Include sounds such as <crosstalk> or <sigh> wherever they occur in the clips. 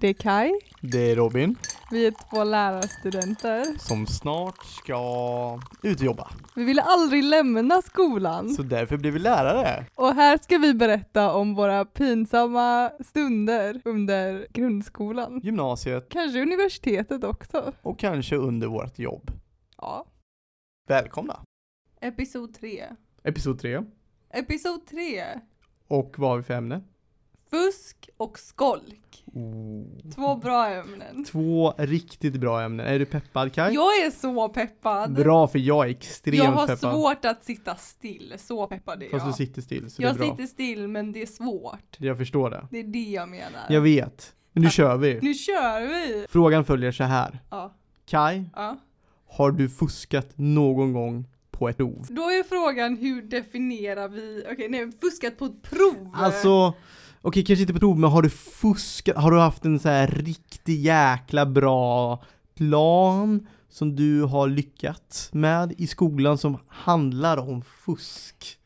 Det är Kai. Det är Robin Vi är två lärarstudenter. som snart ska ut och jobba. Vi ville aldrig lämna skolan. Så därför blir vi lärare. Och här ska vi berätta om våra pinsamma stunder under grundskolan. Gymnasiet Kanske universitetet också. och kanske under vårt jobb. Ja. Välkomna! Episod 3. Episod 3. Episod 3. Och vad har vi för ämne? Fusk och skolk. Oh. Två bra ämnen. Två riktigt bra ämnen. Är du peppad Kaj? Jag är så peppad. Bra för jag är extremt jag har peppad. svårt att sitta still. Så peppad är Fast du jag. sitter still så Jag det är bra. sitter still men det är svårt. Jag förstår det. Det är det jag menar. Jag vet. Men nu kör vi. Nu kör vi! Frågan följer så här. Ja, Kaj, ja. har du fuskat någon gång på ett prov? Då är frågan hur definierar vi, okej nej fuskat på ett prov! Alltså, okej kanske inte på prov, men har du fuskat, har du haft en så här riktig jäkla bra plan som du har lyckats med i skolan som handlar om fusk?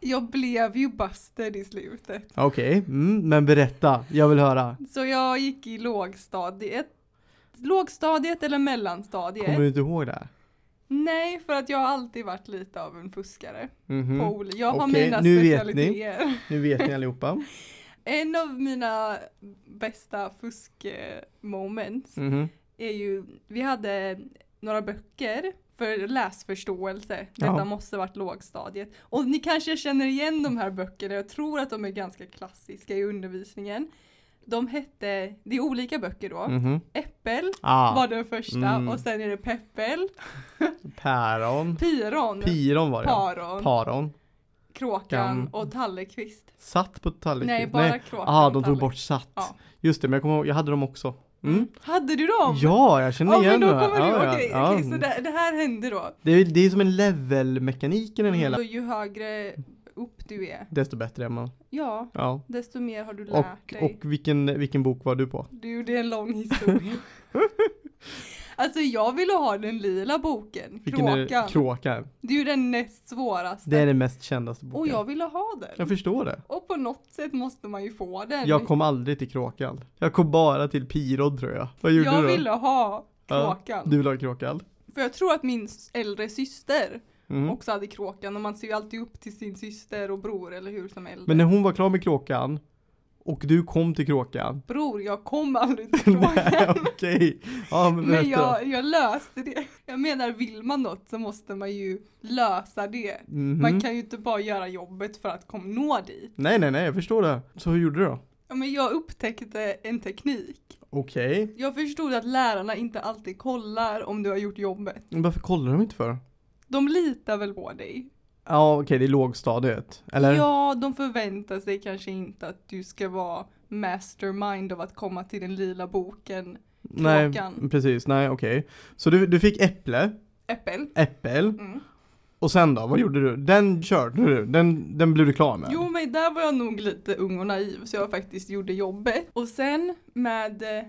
Jag blev ju busted i slutet. Okej, mm, men berätta, jag vill höra. Så jag gick i lågstadiet. Lågstadiet eller mellanstadiet? Kommer du inte ihåg det? här? Nej, för att jag har alltid varit lite av en fuskare. Mhm. På oli- jag har Okej, mina nu vet ni. specialiteter. Nu vet ni allihopa. En av mina bästa fuskmoments Mhm. är ju, vi hade några böcker för läsförståelse. Detta Ja. måste varit lågstadiet. Och ni kanske känner igen de här böckerna, jag tror att de är ganska klassiska i undervisningen. De hette, det är olika böcker då. Mhm. Äppel Ah, var den första Mm. och sen är det peppel, päron. piron, Piron var det. paron, Paron. kråkan Kan- och tallekvist. Satt på tallriken. Nej, bara kråkan Ah, och de tog tallrik. bort satt. Ja. Just det, men jag kommer ihåg, jag hade dem också. Mm. Mm. Hade du dem? Ja, jag känner Ja, men igen då det här. kommer du, ja, ja, okej, ja. okej, så det, det här hände då. det, är, det är som en levelmekanik i den hela. Och ju högre upp du är, Desto bättre är man. ja, Ja. desto mer har du lärt Och, dig. och vilken, vilken bok var du på? Du, det är en lång <laughs> historia. alltså jag ville ha den lila boken, Vilken är det? Kråkan. Kråkan. det är ju den näst svåraste. Det är den mest kändaste boken. Och jag ville ha den. Jag förstår det. Och på något sätt måste man ju få den. Jag kom aldrig till Kråkan. Jag kom bara till Piron tror jag. Vad gjorde Jag du då? ville ha Ja, Kråkan. Du ville ha Kråkan? För jag tror att min s- äldre syster Mm. också hade Kråkan och man ser ju alltid upp till sin syster och bror eller hur som äldre. Men när hon var klar med Kråkan och du kom till Kråkan. <laughs> Bror, jag kom aldrig till Nej, Kråkan. okej. Ja, men berätta. Men jag, jag löste det. Jag menar, vill man något så måste man ju lösa det. Mhm. Man kan ju inte bara göra jobbet för att kom nå dit. Nej, nej, nej, jag förstår det. Så hur gjorde du då? Ja, men jag upptäckte en teknik. Okej. Jag förstod att lärarna inte alltid kollar om du har gjort jobbet. Men Varför kollar de inte för? De litar väl på dig? Ja, okej, det är lågstadiet. Eller? Ja, de förväntar sig kanske inte att du ska vara mastermind av att komma till den lila boken nej, Kråkan. precis. Nej, okej. Så du, du fick äpple, Äppel. äppel, Mm. och sen då? Vad gjorde du? Den körde du? Den, den blev du klar med? Jo men där var jag nog lite ung och naiv så jag faktiskt gjorde jobbet. Och sen med eh,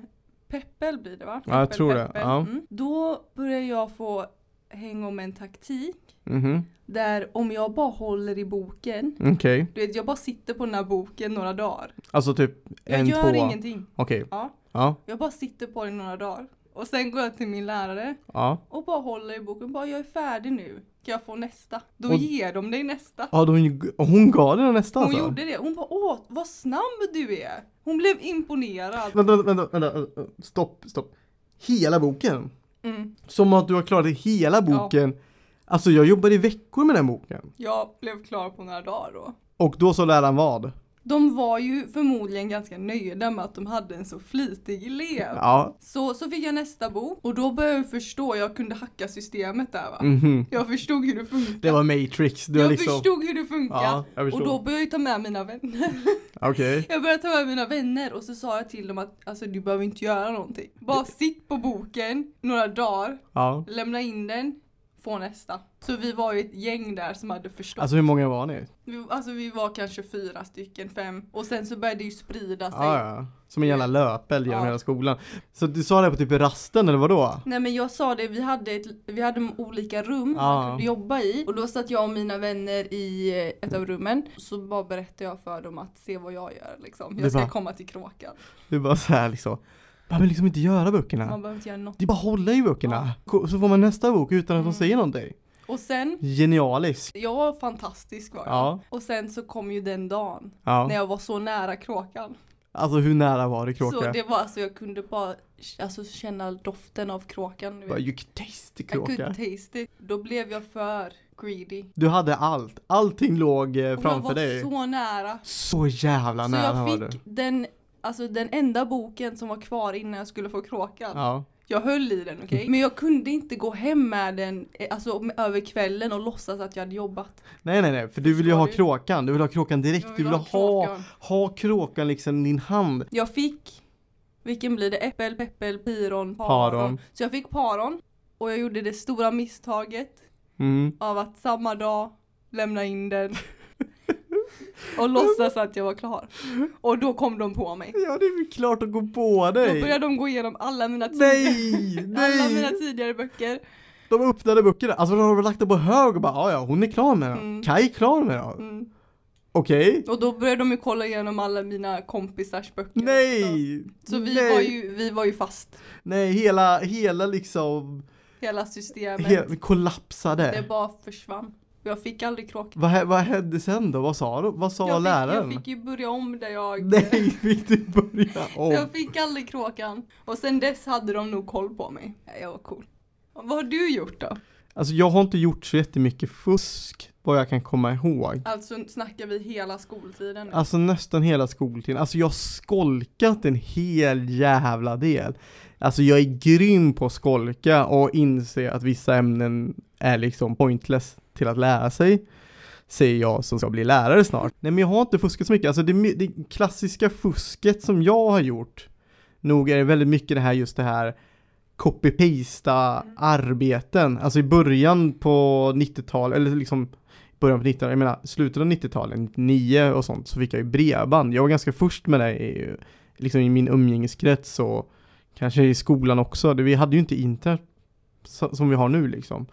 Peppel blir det va? Ja, jag Peppel, tror det. Peppel. Ja. Mm. Då började jag få hänga om en taktik Mhm, där om jag bara håller i boken, Okej. du vet jag bara sitter på den här boken några dagar. Alltså typ Jag en, gör två. ingenting. Okej. Ja, Ja, jag bara sitter på den några dagar. Och sen går jag till min lärare ja. och bara håller i boken, bara jag är färdig nu, kan jag få nästa? Då Och- ger de dig nästa. Ja, hon, hon gav dig den nästa Hon alltså? gjorde det. Hon bara åh vad snabb du är. Hon blev imponerad. Vänta, vänta, vänta, vänta. Stopp, stopp. Hela boken? Mm. Som att du har klarat hela boken. Alltså jag jobbade i veckor med den boken. Jag blev klar på några dagar då. Och då sa läraren vad? De var ju förmodligen ganska nöjda med att de hade en så flitig elev. Ja. Så, så fick jag nästa bok och då började jag förstå, jag kunde hacka systemet där va. Mhm. Jag förstod hur det funkar. Det var Matrix. Du har jag liksom... förstod hur det funkar. Ja, jag och förstod. då började jag ta med mina vänner. <laughs> Okej. Jag började ta med mina vänner och så sa jag till dem att alltså, du behöver inte göra någonting. Bara sitt på boken några dagar Ja. lämna in den, få nästa. Så vi var ju ett gäng där som hade förstått. Alltså hur många var ni? vi, alltså vi var kanske fyra stycken, fem. Och sen så började det ju sprida sig. Ja, ja. Som en jävla löpeld genom Ja. hela skolan. Så du sa det på typ rasten eller vadå? Nej men jag sa det, vi hade, ett, vi hade olika rum Ja. man kunde jobba i. Och då satt jag och mina vänner i eh, ett av rummen. Så bara berättade jag för dem att se vad jag gör liksom. Det Jag ska bara- komma till kråkan. Du bara så här liksom. Man vill liksom inte göra böckerna. Man behöver inte göra något. Det är bara att hålla i böckerna. Ko- Så får man nästa bok utan att de Mm. säger någonting. Och sen, Genialisk. jag var fantastisk var jag. Ja. Och sen så kom ju den dagen. När Ja. jag var så nära kråkan. Alltså hur nära var det kråka? Så det var alltså, jag kunde bara alltså, känna doften av kråkan. du vet. Bara, You can taste the I could kråka. taste it. Då blev jag för greedy. Du hade allt. Allting låg eh, Och jag framför var dig. Så, så nära. jävla Så nära var jag du. fick den, alltså den enda boken som var kvar innan jag skulle få kråkan. Ja. Mm. Jag höll i den, okej? Men jag kunde inte gå hem med den eh, alltså, om- över kvällen och låtsas att jag hade jobbat. Nej nej nej, för du vill ju Förstår ha du? kråkan. Du vill ha kråkan direkt. Jag du vill vill ha ha, ha, kråkan. kråkan liksom i din hand. Jag fick, vilken blir det? Äppel, peppel, piron, Paron. paron. Så jag fick paron och jag gjorde det stora misstaget Mm. av att samma dag lämna in <laughs> den. och låtsas att jag var klar. Och då kom de på mig. Ja det är väl klart att gå på Då dig. började de gå igenom alla mina, tidigare- <laughs> Nej! alla mina Nej! tidigare böcker. De öppnade böckerna, alltså de har lagt dem på hög och bara "Ja, ja hon är klar med dem. Mm. Kaj är klar med dem. Mm. Okej. Och då började de ju kolla igenom alla mina kompisars böcker. Nej! Så, så vi, Nej! var ju, vi var ju fast. Nej, hela, hela liksom, Hela systemet. hela, vi kollapsade. Det bara försvann. Jag fick aldrig kråkan. Vad, hä- vad hände sen då? Vad sa, de- vad sa jag, fick, läraren? jag fick ju börja om där jag... Nej, <laughs> fick du börja Så om? Jag fick aldrig kråkan. Och sen dess hade de nog koll på mig. Ja, Jag var cool. Vad har du gjort då? Alltså jag har inte gjort så jättemycket fusk, vad jag kan komma ihåg. Alltså snackar vi hela skoltiden nu. Alltså nästan hela skoltiden. Alltså jag har skolkat en hel jävla del. Alltså jag är grym på att skolka och inse att vissa ämnen är liksom pointless till att lära sig. Säger jag som ska bli lärare snart. Nej men jag har inte fuskat så mycket. Alltså det, my- det klassiska fusket som jag har gjort nog är det väldigt mycket det här just det här copy-pasta arbeten. Alltså i början på 90-talet, eller liksom början på 90-talet, jag menar slutet av 90-talet, 99 och sånt, så fick jag ju brevband. Jag var ganska först med det i, liksom i min umgängeskrets och kanske i skolan också. Det- Vi hade ju inte internet så- som vi har nu liksom.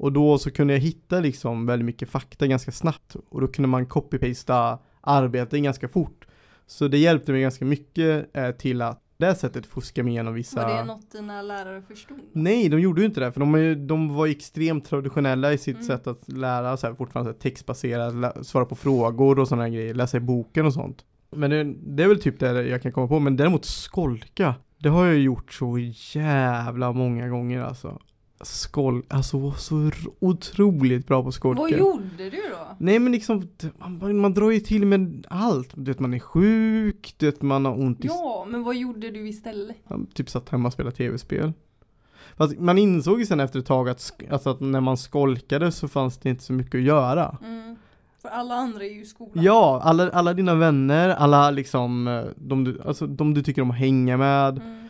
Och då så kunde jag hitta liksom väldigt mycket fakta ganska snabbt och då kunde man copy-pasta arbeten ganska fort. Så det hjälpte mig ganska mycket eh, till att på det sättet fuska mig igenom vissa... Var det något dina lärare förstod? Alltså- Nej, de gjorde ju inte det, för de, är ju- de var ju extremt traditionella i sitt Mm. sätt att lära, så här, fortfarande så här, textbaserat, lä- svara på frågor och sådana grejer, läsa i boken och sånt. Men det, det är väl typ det jag kan komma på, men däremot skolka, det har jag ju gjort så jävla många gånger alltså. Skol, alltså så r- otroligt bra på skolka. Vad gjorde du då? Nej men liksom, t- man, man drar ju till med allt. Du vet man är sjuk, du vet man har ont i Ja, men vad gjorde du istället? han typ satt hemma och spelade tv-spel. Fast man insåg ju sen efter ett tag att, sk- alltså att när man skolkade så fanns det inte så mycket att göra. Mm. För alla andra är ju i skolan. Ja, alla, alla dina vänner, alla liksom, eh, de du, alltså, de du tycker om att hänga med, Mm.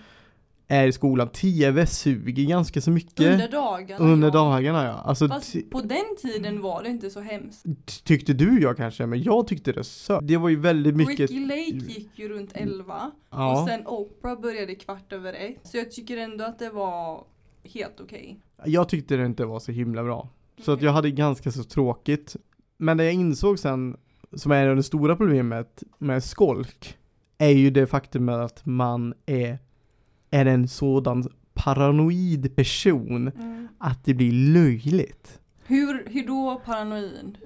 är i skolan. TV suger ganska så mycket. Under dagarna. Under ja. dagarna ja. Alltså, ty- Fast på den tiden var det inte så hemskt. tyckte du jag kanske, men jag tyckte det söt. Det var ju väldigt mycket. Mm. Ricky Lake gick ju runt 11 och Ja. sen Oprah började kvart över ett. Så jag tycker ändå att det var helt okej. Jag tyckte det inte var så himla bra. Så att Mm. jag hade ganska så tråkigt. Men det jag insåg sen, som är det stora problemet med skolk, är ju det faktum att man är, är en sådan paranoid person Mm. att det blir löjligt. Hur, hur då paranoid?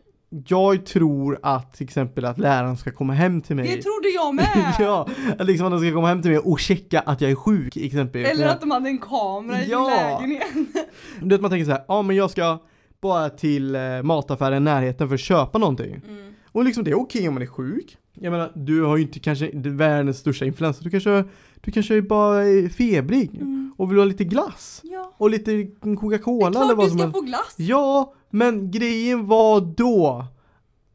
Jag tror att till exempel att läraren ska komma hem till mig. Det trodde <laughs> jag med! ja, att liksom att de ska komma hem till mig och checka att jag är sjuk exempelvis. Eller att de hade en kamera i Ja. lägenheten. Du vet man tänker så här, ja men jag ska bara till eh, mataffären i närheten för att köpa någonting. Mm. Och liksom det är okej om man är sjuk. Jag menar, du har ju inte kanske det är världens största influensa. Du kanske, du kanske är bara är febrig Mm. och vill ha lite glass. Ja. Och lite Det är Coca-Cola eller klart vad du som ska helst. få glass! Ja, men grejen var då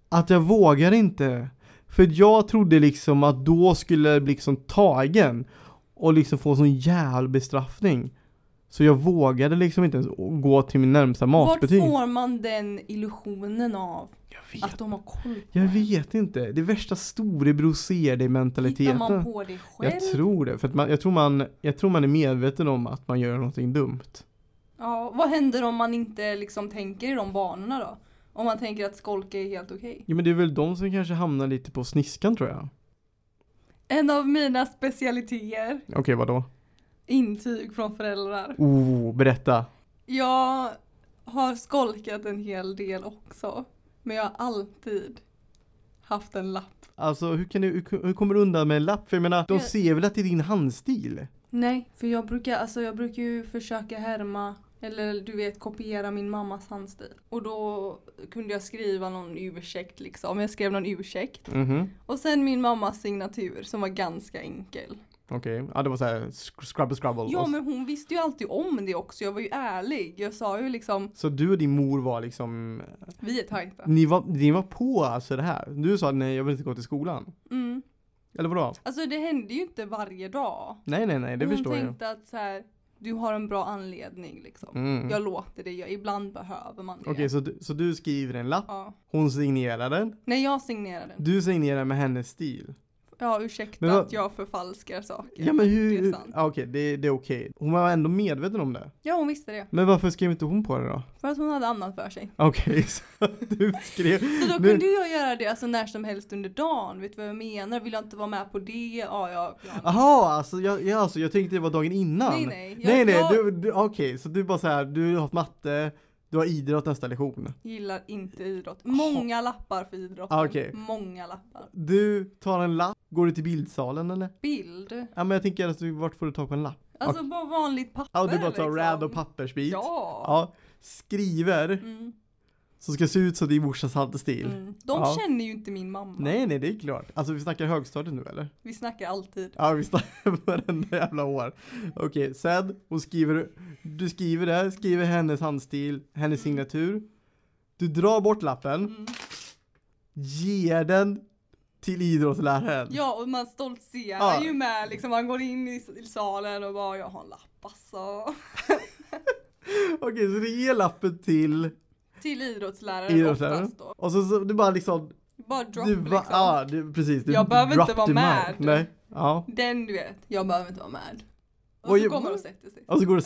att jag vågar inte. För jag trodde liksom att då skulle jag bli liksom tagen och liksom få sån jävla bestraffning. Så jag vågade liksom inte ens gå till min närmsta Vart matbutik. får Alltså, man den illusionen av Jag att vet, de har koll på jag en? vet inte. Det är värsta storebror ser dig Hittar mentaliteten. man på det själv? Jag tror det. För att man, jag, tror man, jag tror man är medveten om att man gör någonting dumt. Ja, vad händer om man inte liksom tänker i de banorna då? Om man tänker att skolka är helt okej. Jo men det är väl de som kanske hamnar lite på sniskan tror jag. En av mina specialiteter, Okej vadå? intyg från föräldrar. Oh, berätta. Jag har skolkat en hel del också. Men jag har alltid haft en lapp. Alltså hur, kan du, hur, hur kommer du undan med en lapp? För jag menar, de Jag- ser väl att det är din handstil? Nej, för jag brukar, alltså jag brukar ju försöka härma eller du vet kopiera min mammas handstil. Och då kunde jag skriva någon ursäkt liksom. Jag skrev någon ursäkt. Mhm. Och sen min mammas signatur som var ganska enkel. Okej, ja det var såhär sk- scrubble scrubble. Ja Och- men hon visste ju alltid om det också. Jag var ju ärlig. Jag sa ju liksom, Så du och din mor var liksom, vi är tajta. ni var, ni var på alltså det här? Du sa nej jag vill inte gå till skolan. Mm. Eller vadå? Alltså det hände ju inte varje dag. Nej nej nej, det hon förstår tänkte att så här, du har en bra anledning liksom. jag. Mm. Jag låter dig, jag, ibland behöver man det. Okej, så, du- så du skriver en lapp, ja. hon signerar den, Nej jag signerar den. du signerar med hennes stil. Ja ursäkta Men vad- att jag förfalskar saker. Ja men Det är hur, sant. ja, okej det, det är okej. Hon var ändå medveten om det. Ja hon visste det. Men varför skrev inte hon på det då? <laughs> För att hon hade annat för sig. Okej, så <laughs> du skrev. Så då Nu- kunde jag göra det alltså när som helst under dagen. Vet du vad jag menar? Vill jag inte vara med på det? Ja, ja. ja. Jaha, alltså jag, jag, alltså jag tänkte det var dagen innan. Nej nej. Jag, nej, nej, jag du, du, okej, så du bara så här, du har haft matte, du har idrott nästa lektion. gillar inte idrott. Många lappar för idrott. Ah, okej. Många lappar. Du tar en lapp, går du till bildsalen eller? Bild. Ja men jag tänker att du, vart får du tag på en lapp? Alltså bara vanligt papper. liksom. Ja, du bara tar rad och pappersbit. Ja. Ja, skriver, Mm, som ska se ut som din morsas handstil. mm. De Ja. känner ju inte min mamma. Nej, nej, det är klart. Alltså vi snackar högstadiet nu eller? Vi snackar alltid. Ja, vi snackar <laughs> varenda jävla år. Okej, sen, hon skriver, du skriver det, skriver hennes handstil, hennes signatur. Du drar bort lappen, Mm. ger den till idrottsläraren. Ja, och man stoltserar Ja. ju med liksom. Man går in i s- i salen och bara, jag har en lapp alltså. Okej, så du ger lappen till Till idrottsläraren, idrottsläraren. oftast då. Och så, så du bara liksom, Bara drop du liksom. va, ah. ja, du, precis. Du Jag behöver inte dropped vara the mic. med. typ. Nej, ja. Den du vet, jag behöver inte vara med. Och Oj, Alltså, så kommer de och sätter sig. Och så går du och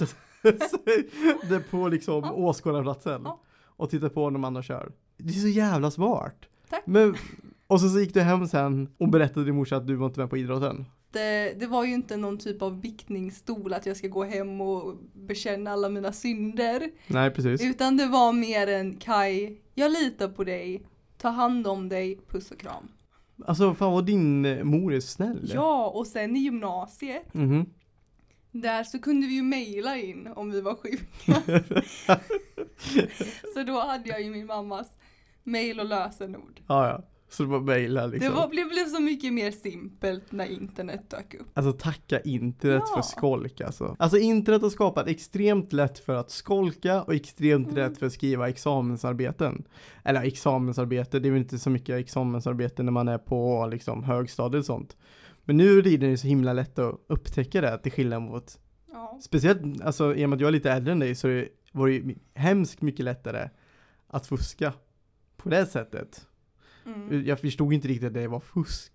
<laughs> sätter dig på liksom Ja. åskådarplatsen Ja. och tittar på när de andra kör. Det är så jävla smart. Tack. Men, och så, så gick du hem sen och berättade till din morsa att du var inte med på idrotten. det, det var ju inte någon typ av biktningsstol att jag ska gå hem och bekänna alla mina synder. Nej, precis. Utan det var mer en Kai, jag litar på dig, ta hand om dig, puss och kram. Alltså fan vad din eh, mor är snäll. Ja, och sen i gymnasiet, Mhm. där så kunde vi ju mejla in om vi var sjuka. <laughs> så då hade jag ju min mammas mejl och lösenord. Ja, ja. Så du bara mejlade liksom. Det var, blev, blev så mycket mer simpelt när internet dök upp. Alltså tacka internet Ja. för skolk alltså. Alltså internet har skapat extremt lätt för att skolka och extremt Mm. lätt för att skriva examensarbeten. Eller examensarbete, det är väl inte så mycket examensarbete när man är på liksom högstadiet och sånt. Men nu är det ju så himla lätt att upptäcka det till skillnad mot, Ja. speciellt alltså i och med att jag är lite äldre än dig så det var det ju hemskt mycket lättare att fuska på det sättet. Mm. Jag förstod inte riktigt att det var fusk.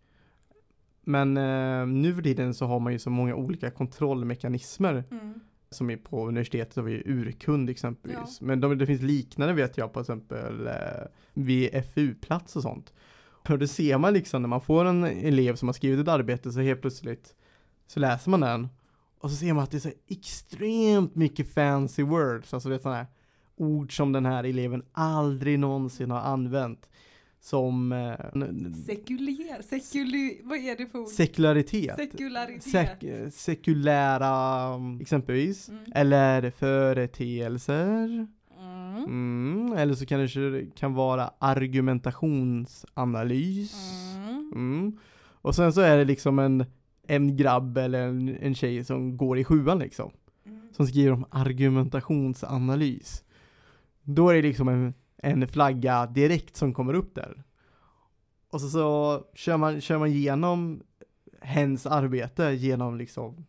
Men eh, nu för tiden så har man ju så många olika kontrollmekanismer Mm. som är på universitetet har vi ju urkund exempelvis. Men de, det finns liknande vet jag på exempel eh, vid FU-plats och sånt. Och det ser man liksom när man får en elev som har skrivit ett arbete så helt plötsligt så läser man den och så ser man att det är så här extremt mycket fancy words, alltså det är sådana här ord som den här eleven aldrig någonsin har använt. Som eh, n- Sekulär, sekuli, vad är det för ord? sekularitet. Sekularitet. Sek- sekulära mm, exempelvis. Mm. Eller företeelser. Mm. Mm. Eller så kanske det kan vara argumentationsanalys. Mm. Mm. Och sen så är det liksom en, en grabb eller en, en tjej som går i sjuan liksom. Mm. Som skriver om argumentationsanalys. Då är det liksom en, en flagga direkt som kommer upp där. Och så, så kör, man, kör man igenom hens arbete genom liksom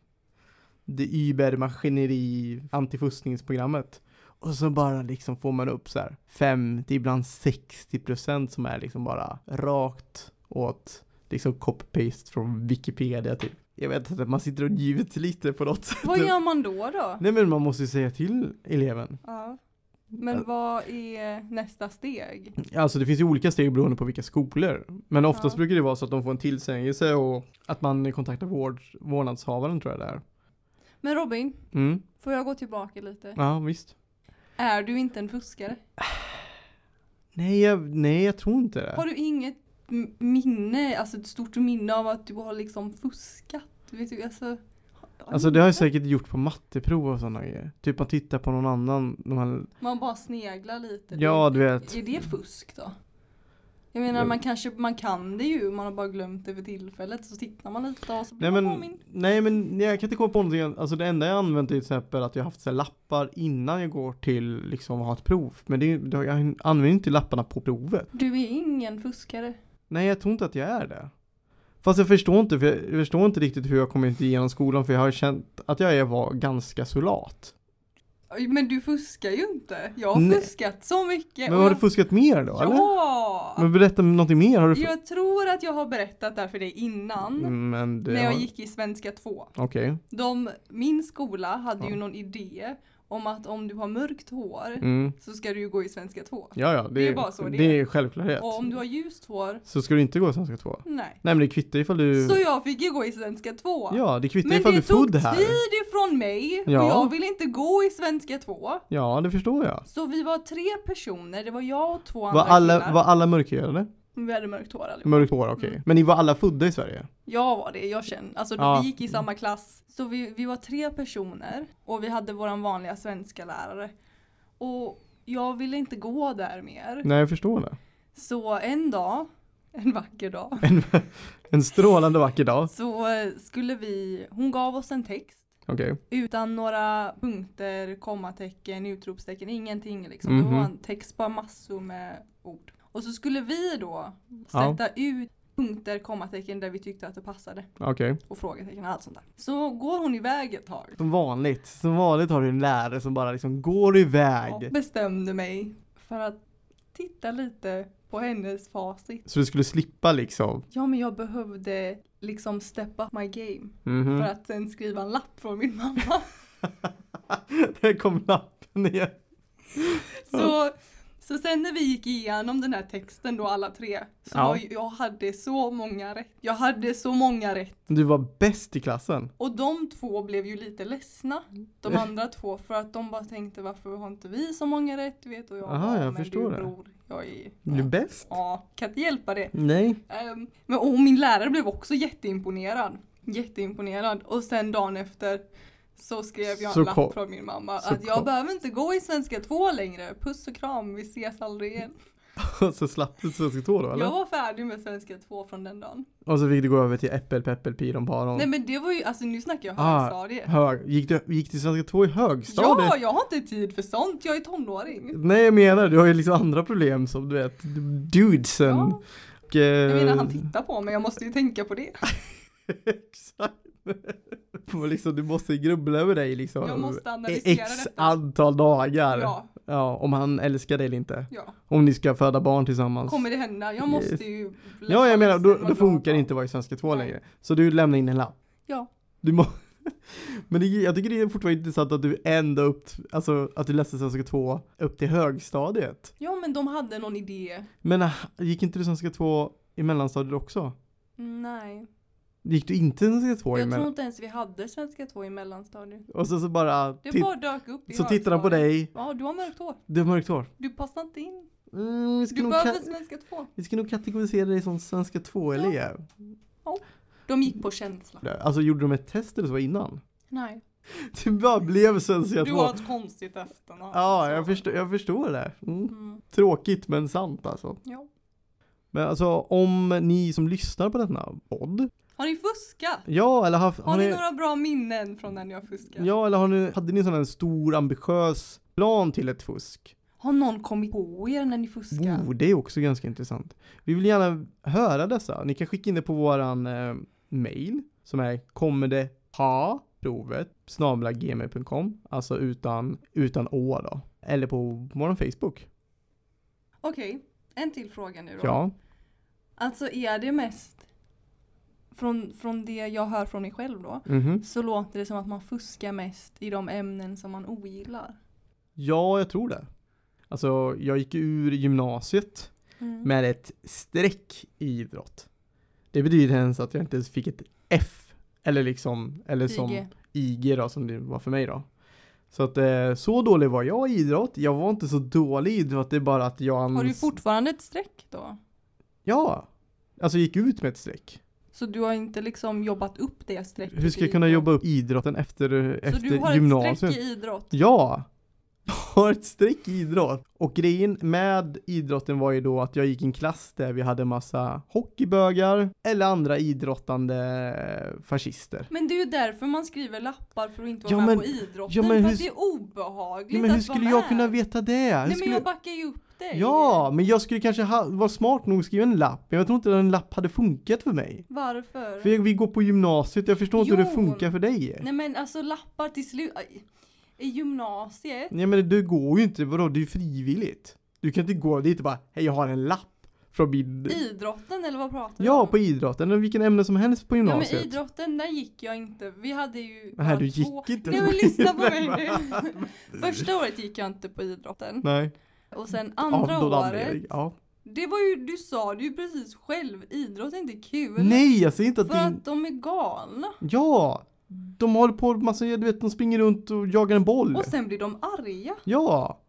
det Uber-maskineri antifuskningsprogrammet. Och så bara liksom får man upp så här 50, ibland 60 procent som är liksom bara rakt åt liksom copy-paste från Wikipedia typ. Jag vet inte, man sitter och njuter lite på något sätt. Vad gör man då då? Nej men man måste ju säga till eleven. Ja. Men vad är nästa steg? Alltså det finns ju olika steg beroende på vilka skolor. Men oftast Ja. brukar det vara så att de får en tillsägelse och att man kontaktar vård, vårdnadshavaren tror jag det är. Men Robin, Mm, får jag gå tillbaka lite? ja visst. Är du inte en fuskare? Nej jag, nej, jag tror inte det. Har du inget m- minne, alltså ett stort minne av att du har liksom fuskat? Vet du, alltså, har- har Alltså du det har jag inte? säkert gjort på matteprov och sådana grejer. Typ man tittar på någon annan. när Man, Man bara sneglar lite. typ. ja du vet. Är det fusk då? Jag menar Jag- man kanske, man kan det ju, man har bara glömt det för tillfället. Så tittar man lite och så blir Nej man men, påmind. nej men jag kan inte komma på någonting. Alltså det enda jag använt är till exempel att jag haft så här lappar innan jag går till liksom ha ett prov. Men det, är ju- jag använder inte lapparna på provet. Du är ingen fuskare. Nej, jag tror inte att jag är det. Fast jag förstår inte, för jag förstår inte riktigt hur jag kommit igenom skolan för jag har känt att jag är- var ganska så lat. Oj, Men du fuskar ju inte. Jag har Nej. fuskat så mycket. Men och har du jag- fuskat mer då? Eller? Ja! Men berätta någonting mer. Har du fuskat? Mm, Jag tror att jag har berättat det här för dig innan. Men det mm. När har... jag gick i svenska 2. Okej. De, min skola hade Ja. ju någon idé om att om du har mörkt hår Mm. så ska du ju gå i svenska 2. Ja, ja. Det, Det är är, bara så det det, är. är självklarhet. Och om du har ljust hår, Så ska du inte gå i svenska 2. nej. Nej, men det kvittar ifall du... Så jag fick ju gå i svenska 2. Ja, det kvittar Men ifall du det är född tog här. tid ifrån mig och Ja. jag ville inte gå i svenska 2. Ja, det förstår jag. Så vi var tre personer, det var jag och två andra Var alla, killar. Mm. var alla mörkhyade? Men Vi hade mörkt hår allihopa. Mörkt hår, okej. Men ni var alla födda i Sverige? Jag var det, jag känner. Alltså Ja. vi gick i samma klass. Så vi, vi var tre personer och vi hade våran vanliga svenska lärare. Och jag ville inte gå där mer. Nej, jag förstår det. Så en dag, en vacker dag, En, en strålande vacker dag. så eh, skulle vi, hon gav oss en text Okej. utan några punkter, kommatecken, utropstecken, ingenting liksom. Det Mhm. var en text, bara massor med ord. Och så skulle vi då Ja. sätta ut punkter, kommatecken där vi tyckte att det passade Okej. och frågetecken och allt sånt där. Så går hon iväg ett tag. Som vanligt, som vanligt har du en lärare som bara liksom går Och iväg. bestämde mig för att titta lite på hennes facit. Så du skulle slippa liksom. Ja men jag behövde liksom step up my game Mhm. för att sen skriva en lapp från min mamma. <laughs> Där kom lappen igen. Så, så sen när vi gick igenom den här texten då alla tre så Ja. var ju- jag hade så många rätt. Jag hade så många rätt. Du var bäst i klassen. Och de två blev ju lite ledsna, de Mm. andra två, för att de bara tänkte varför har inte vi så många rätt? Du vet, och jag Aha, bara, jag men förstår du, det. bror, jag är... Du är bäst? Ja, kan inte hjälpa det. Nej. Ehm, men, och min lärare blev också jätteimponerad. Jätteimponerad. Och sen dagen efter så skrev jag Så en lapp kom- från min mamma så att jag kom- behöver inte gå i svenska 2 längre. Puss och kram, vi ses aldrig igen. <laughs> Och så slapp du Svenska 2 då eller? Jag var färdig med svenska 2 från den dagen. Och så fick du gå över till äppel, peppel, piron, paron. Nej men det var ju, alltså nu snackar jag Ah, högstadiet. Hög. Gick du gick till Svenska 2 i högstadiet? Ja, jag har inte tid för sånt. Jag är tonåring. Nej jag menar, du har ju liksom andra problem som du vet, dudesen. Ja, Och, eh, jag menar han tittar på mig, jag måste ju tänka på det. <laughs> Exakt. Och liksom, du måste grubbla över dig liksom. Jag måste analysera X detta. antal dagar. Ja, Ja, om han älskar dig eller inte. ja. Om ni ska föda barn tillsammans. Kommer det hända? Jag måste ju... ja, jag menar, då, vara då glad funkar det av. inte att vara i Svenska 2 Nej. längre. Så du lämnar in en lapp. Ja. Du må- <laughs> Men det, jag tycker det är fortfarande intressant att du ända upp, alltså att du läste Svenska 2 upp till högstadiet. Ja men de hade någon idé. Men ah, gick inte du Svenska 2 i mellanstadiet också? Mm, Nej. Gick du inte Svenska 2 i Jag tror mellanstadiet? inte ens vi hade svenska 2 i mellanstadiet. Och så, så bara, Det tit- bara dök upp i så tittar de på högstadiet. dig, Ja, du har mörkt hår. du har mörkt hår. Du passar inte in. Mm, vi, ska Du nog behöver ka- svenska 2. vi ska nog kategorisera dig som Svenska 2-elev. De gick på känsla. Alltså gjorde de ett test eller så innan? <laughs> Nej. Du bara blev Svenska 2. Du har ett konstigt efternamn. Ja, Så. jag förstår, jag förstår det. Mm. Mm, Tråkigt men sant alltså. ja. Men alltså om ni som lyssnar på denna podd, Har ni fuskat? ja eller haft, Har, ni, några bra minnen från när ni har fuskat? ja eller har ni, hade ni en sån här stor ambitiös plan till ett fusk? Har någon kommit på er när ni fuskar? Oh, det är också ganska intressant. Vi vill gärna höra dessa. Ni kan skicka in det på våran eh, mail som är kommer det ha provet snabla gmail.com, alltså utan, utan å då. Eller på vår Facebook. Okej, en till fråga nu då. Ja. Alltså är det mest från, från det jag hör från mig själv då Mhm. så låter det som att man fuskar mest i de ämnen som man ogillar. Ja, jag tror det. Alltså, jag gick ur gymnasiet Mm. med ett streck i idrott. Det betyder ens att jag inte ens fick ett F. Eller liksom, eller som IG. IG då, som det var för mig då. Så att eh, så dålig var jag i idrott. Jag var inte så dålig i idrott, det är bara att jag... Har du ans- fortfarande ett streck då? Ja! Alltså gick ut med ett streck. Så du har inte liksom jobbat upp det strecket? Hur ska i jag kunna idrott? jobba upp idrotten efter, eh, Så du efter har ett gymnasiet? streck i idrott? Ja! <laughs> Jag har ett streck i idrott. Och grejen med idrotten var ju då att jag gick i en klass där vi hade massa hockeybögar eller andra idrottande eh, fascister. Men det är ju därför man skriver lappar för att inte vara Ja, med men- på idrotten. ja, men för hur- att det är obehagligt Ja, men hur att vara skulle jag med. kunna veta det? Hur Nej men skulle... jag backar ju upp dig. Ja, men jag skulle kanske ha, vara smart nog att skriva en lapp. Men jag tror inte att en lapp hade funkat för mig. Varför? För jag, vi går på gymnasiet, jag förstår inte hur det Jo. funkar för dig. Nej men alltså lappar till slut. aj. I gymnasiet. Nej men det går ju inte, vadå? Det är ju frivilligt. Du kan inte gå dit och bara, hej jag har en lapp från min... Idrotten eller vad pratar du Ja, om? på idrotten eller vilken ämne som helst på Ja men gymnasiet. idrotten, där gick jag inte. Vi hade ju Nej, bara du gick två... inte. Nej men lyssna på mig nu. Första året gick jag inte på idrotten. <laughs> Nej. Och sen Av andra någon året. anledning, Ja. Det var ju, du sa det ju precis själv. Idrott är inte kul. Nej, jag säger inte att För det... att de är galna. Ja! De håller på med massa, du vet, de springer runt och jagar en boll. Och sen blir de arga. Ja!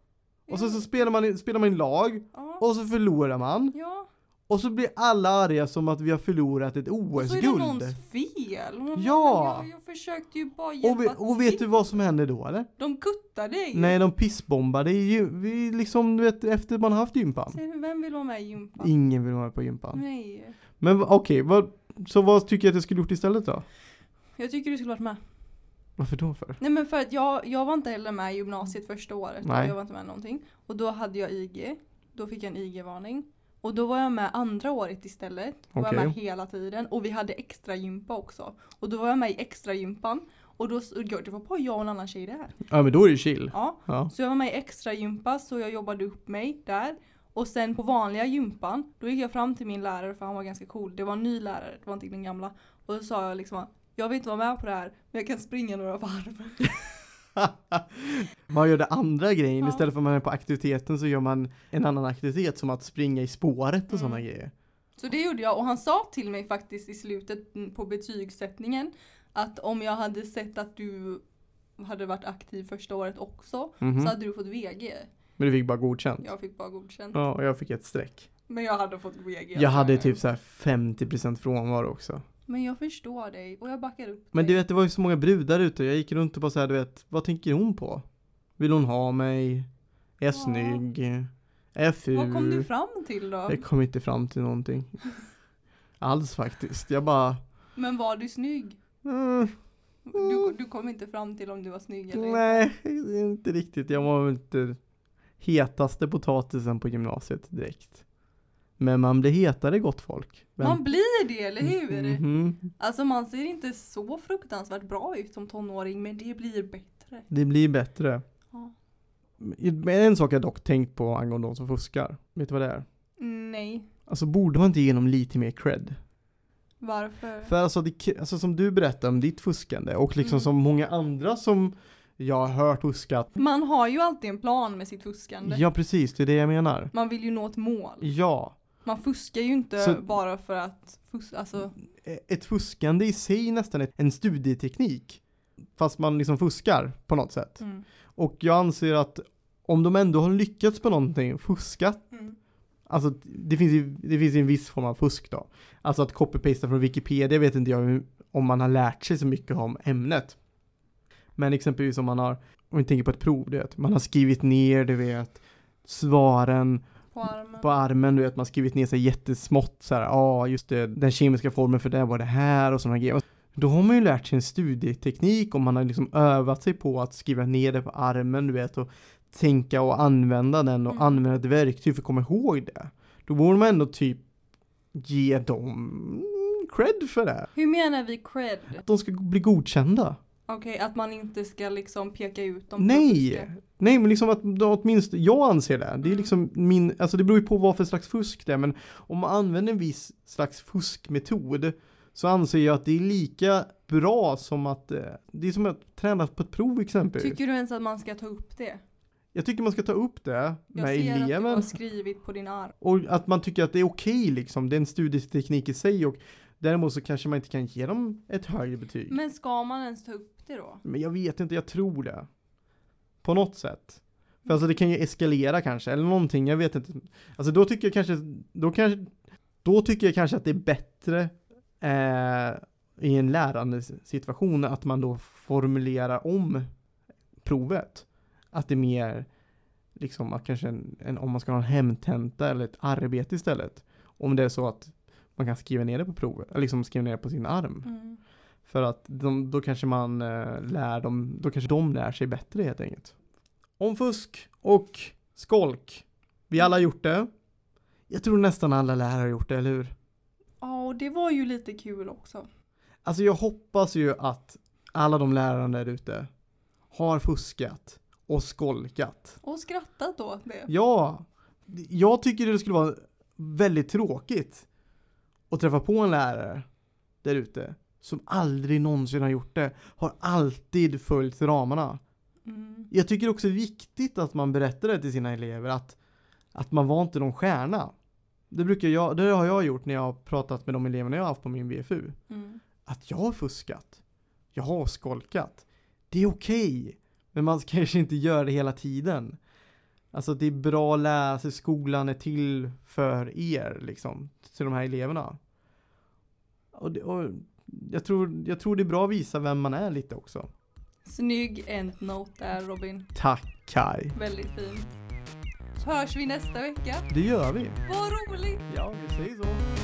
Och så, så spelar man i spelar man i lag, Ja. och så förlorar man. ja. Och så blir alla arga som att vi har förlorat ett Och så är det OS-guld. någons fel. Man, Ja. Jag, jag försökte ju bara Och, ve- hjälpa och vet du vad som händer då eller? De kuttar dig. Nej, de pissbombade ju, vi liksom, du vet, efter man haft gympan. Så Vem vill vara med i gympan? Ingen vill vara på Mm. gympan. Nej. Men v- okej, vad, så vad tycker jag att jag skulle gjort istället då? Jag tycker du skulle varit med. Varför då för? Nej men för att jag, jag var inte heller med i gymnasiet första året. Nej. Jag var inte med i någonting. Och då hade jag IG. Då fick jag en IG-varning. Och då var jag med andra året istället. Då var jag Okej. med hela tiden. Och vi hade extra gympa också. Och då var jag med i extra gympan. Och då, s- och jag- det var bara jag och en annan tjej där. Ja men då är det chill. Ja. Ja. Så jag var med i extra gympa så jag jobbade upp mig där. Och sen på vanliga gympan, då gick jag fram till min lärare för han var ganska cool. Det var en ny lärare, det var inte den gamla. Och då sa jag liksom jag vill inte vara med på det här men jag kan springa några varv. Man gör det andra grejen, Ja. istället för att man är på aktiviteten så gör man en annan aktivitet som att springa i spåret Mm. och sådana grejer. Så det gjorde jag och han sa till mig faktiskt i slutet mm, på betygssättningen att om jag hade sett att du hade varit aktiv första året också Mhm. så hade du fått VG. Men du fick bara godkänt. Jag fick bara godkänt. Ja, och jag fick ett streck. Men jag hade fått VG. Jag hade typ så här 50% frånvaro också. Men jag förstår dig och jag backar upp Men dig. du vet, det var ju så många brudar ute. Jag gick runt och bara så här, du vet, vad tänker hon på? Vill hon ha mig? Är Ja. jag snygg? Är jag ful? Vad kom du fram till då? Jag kom inte fram <laughs> till någonting. Alls faktiskt. Jag bara, Men var du snygg? mm, Du, du kom inte fram till om du var snygg eller inte. nej, inte riktigt. Jag var väl inte hetaste potatisen på gymnasiet direkt. Men man blir hetare gott folk. Vem- Man blir det, eller Mm, hur? Mhm. Alltså man ser inte så fruktansvärt bra ut som tonåring men det blir bättre. Det blir bättre. Ja. Men en sak jag dock tänkt på angående de som fuskar. Vet du vad det är? Nej, Alltså borde man inte ge dem lite mer cred? varför? För alltså, det, k- alltså som du berättade om ditt fuskande och liksom Mm. som många andra som jag har hört fuskat. Man har ju alltid en plan med sitt fuskande. Ja precis, det är det jag menar. Man vill ju nå ett mål. Ja, Man fuskar ju inte Så- bara för att fuska. Alltså, e- ett fuskande i sig är nästan ett, en studieteknik. Fast man liksom fuskar på något sätt. mm. Och jag anser att om de ändå har lyckats på någonting, fuskat Mm. Alltså det finns ju det finns ju en viss form av fusk då. Alltså att copy-pasta från Wikipedia vet inte jag hur- om man har lärt sig så mycket om ämnet. Men exempelvis om man har, om vi tänker på ett prov, du vet, man har skrivit ner, du vet, svaren På armen. på armen, du vet, man har skrivit ner sig jättesmått så här, ja ah, just det, den kemiska formen för det var det här och sådana grejer. Då har man ju lärt sig en studieteknik och man har liksom övat sig på att skriva ner det på armen, du vet, och tänka och använda den och Mm. använda ett verktyg för att komma ihåg det. Då borde man ändå typ ge dem cred för det. Hur menar vi cred? Att de ska bli godkända. Okej, att man inte ska liksom peka ut dem. Nej! Nej men liksom att då åtminstone, jag anser det. Det är liksom min, alltså det beror ju på vad för slags fusk det är men om man använder en viss slags fuskmetod så anser jag att det är lika bra som att, eh, det är som att träna på ett prov exempelvis. Tycker du ens att man ska ta upp det? jag tycker man ska ta upp det Jag med ser att du eleven har skrivit på din arm. och att man tycker att det är okej liksom, det är en studieteknik i sig och däremot så kanske man inte kan ge dem ett högre betyg. Men ska man ens ta upp det då? Men jag vet inte, jag tror det. På något sätt. För alltså det kan ju eskalera kanske, eller någonting, jag vet inte. Alltså då tycker jag kanske, då kanske, då tycker jag kanske att det är bättre eh, i en lärande situation att man då formulerar om provet. Att det är mer, liksom att kanske en, en, om man ska ha en hemtenta eller ett arbete istället. Om det är så att man kan skriva ner det på provet, eller liksom skriva ner det på sin arm. Mm. För att de, då kanske man eh, lär dem, då kanske de lär sig bättre helt enkelt. Om fusk och skolk. Vi alla har gjort det. Jag tror nästan alla lärare har gjort det, eller hur? Ja, och det var ju lite kul också. Alltså jag hoppas ju att alla de lärarna där ute har fuskat och skolkat. Och skrattat åt det. Ja, jag tycker det skulle vara väldigt tråkigt att träffa på en lärare där ute som aldrig någonsin har gjort det, har alltid följt ramarna. Mm. Jag tycker också det är viktigt att man berättar det till sina elever att, att man var inte någon stjärna. Det, brukar jag, det har jag gjort när jag har pratat med de eleverna jag har haft på min VFU. Mm. Att jag har fuskat. Jag har skolkat. Det är okej. men man <laughs> ska kanske inte göra det hela tiden. Alltså det är bra att lära sig skolan är till för er liksom. Till de här eleverna. Och, det, och jag, tror, jag tror det är bra att visa vem man är lite också. Snygg endnote där Robin. Tack Kai. Väldigt fin. Så hörs vi nästa vecka. Det gör vi. Vad roligt! Ja, vi säger så.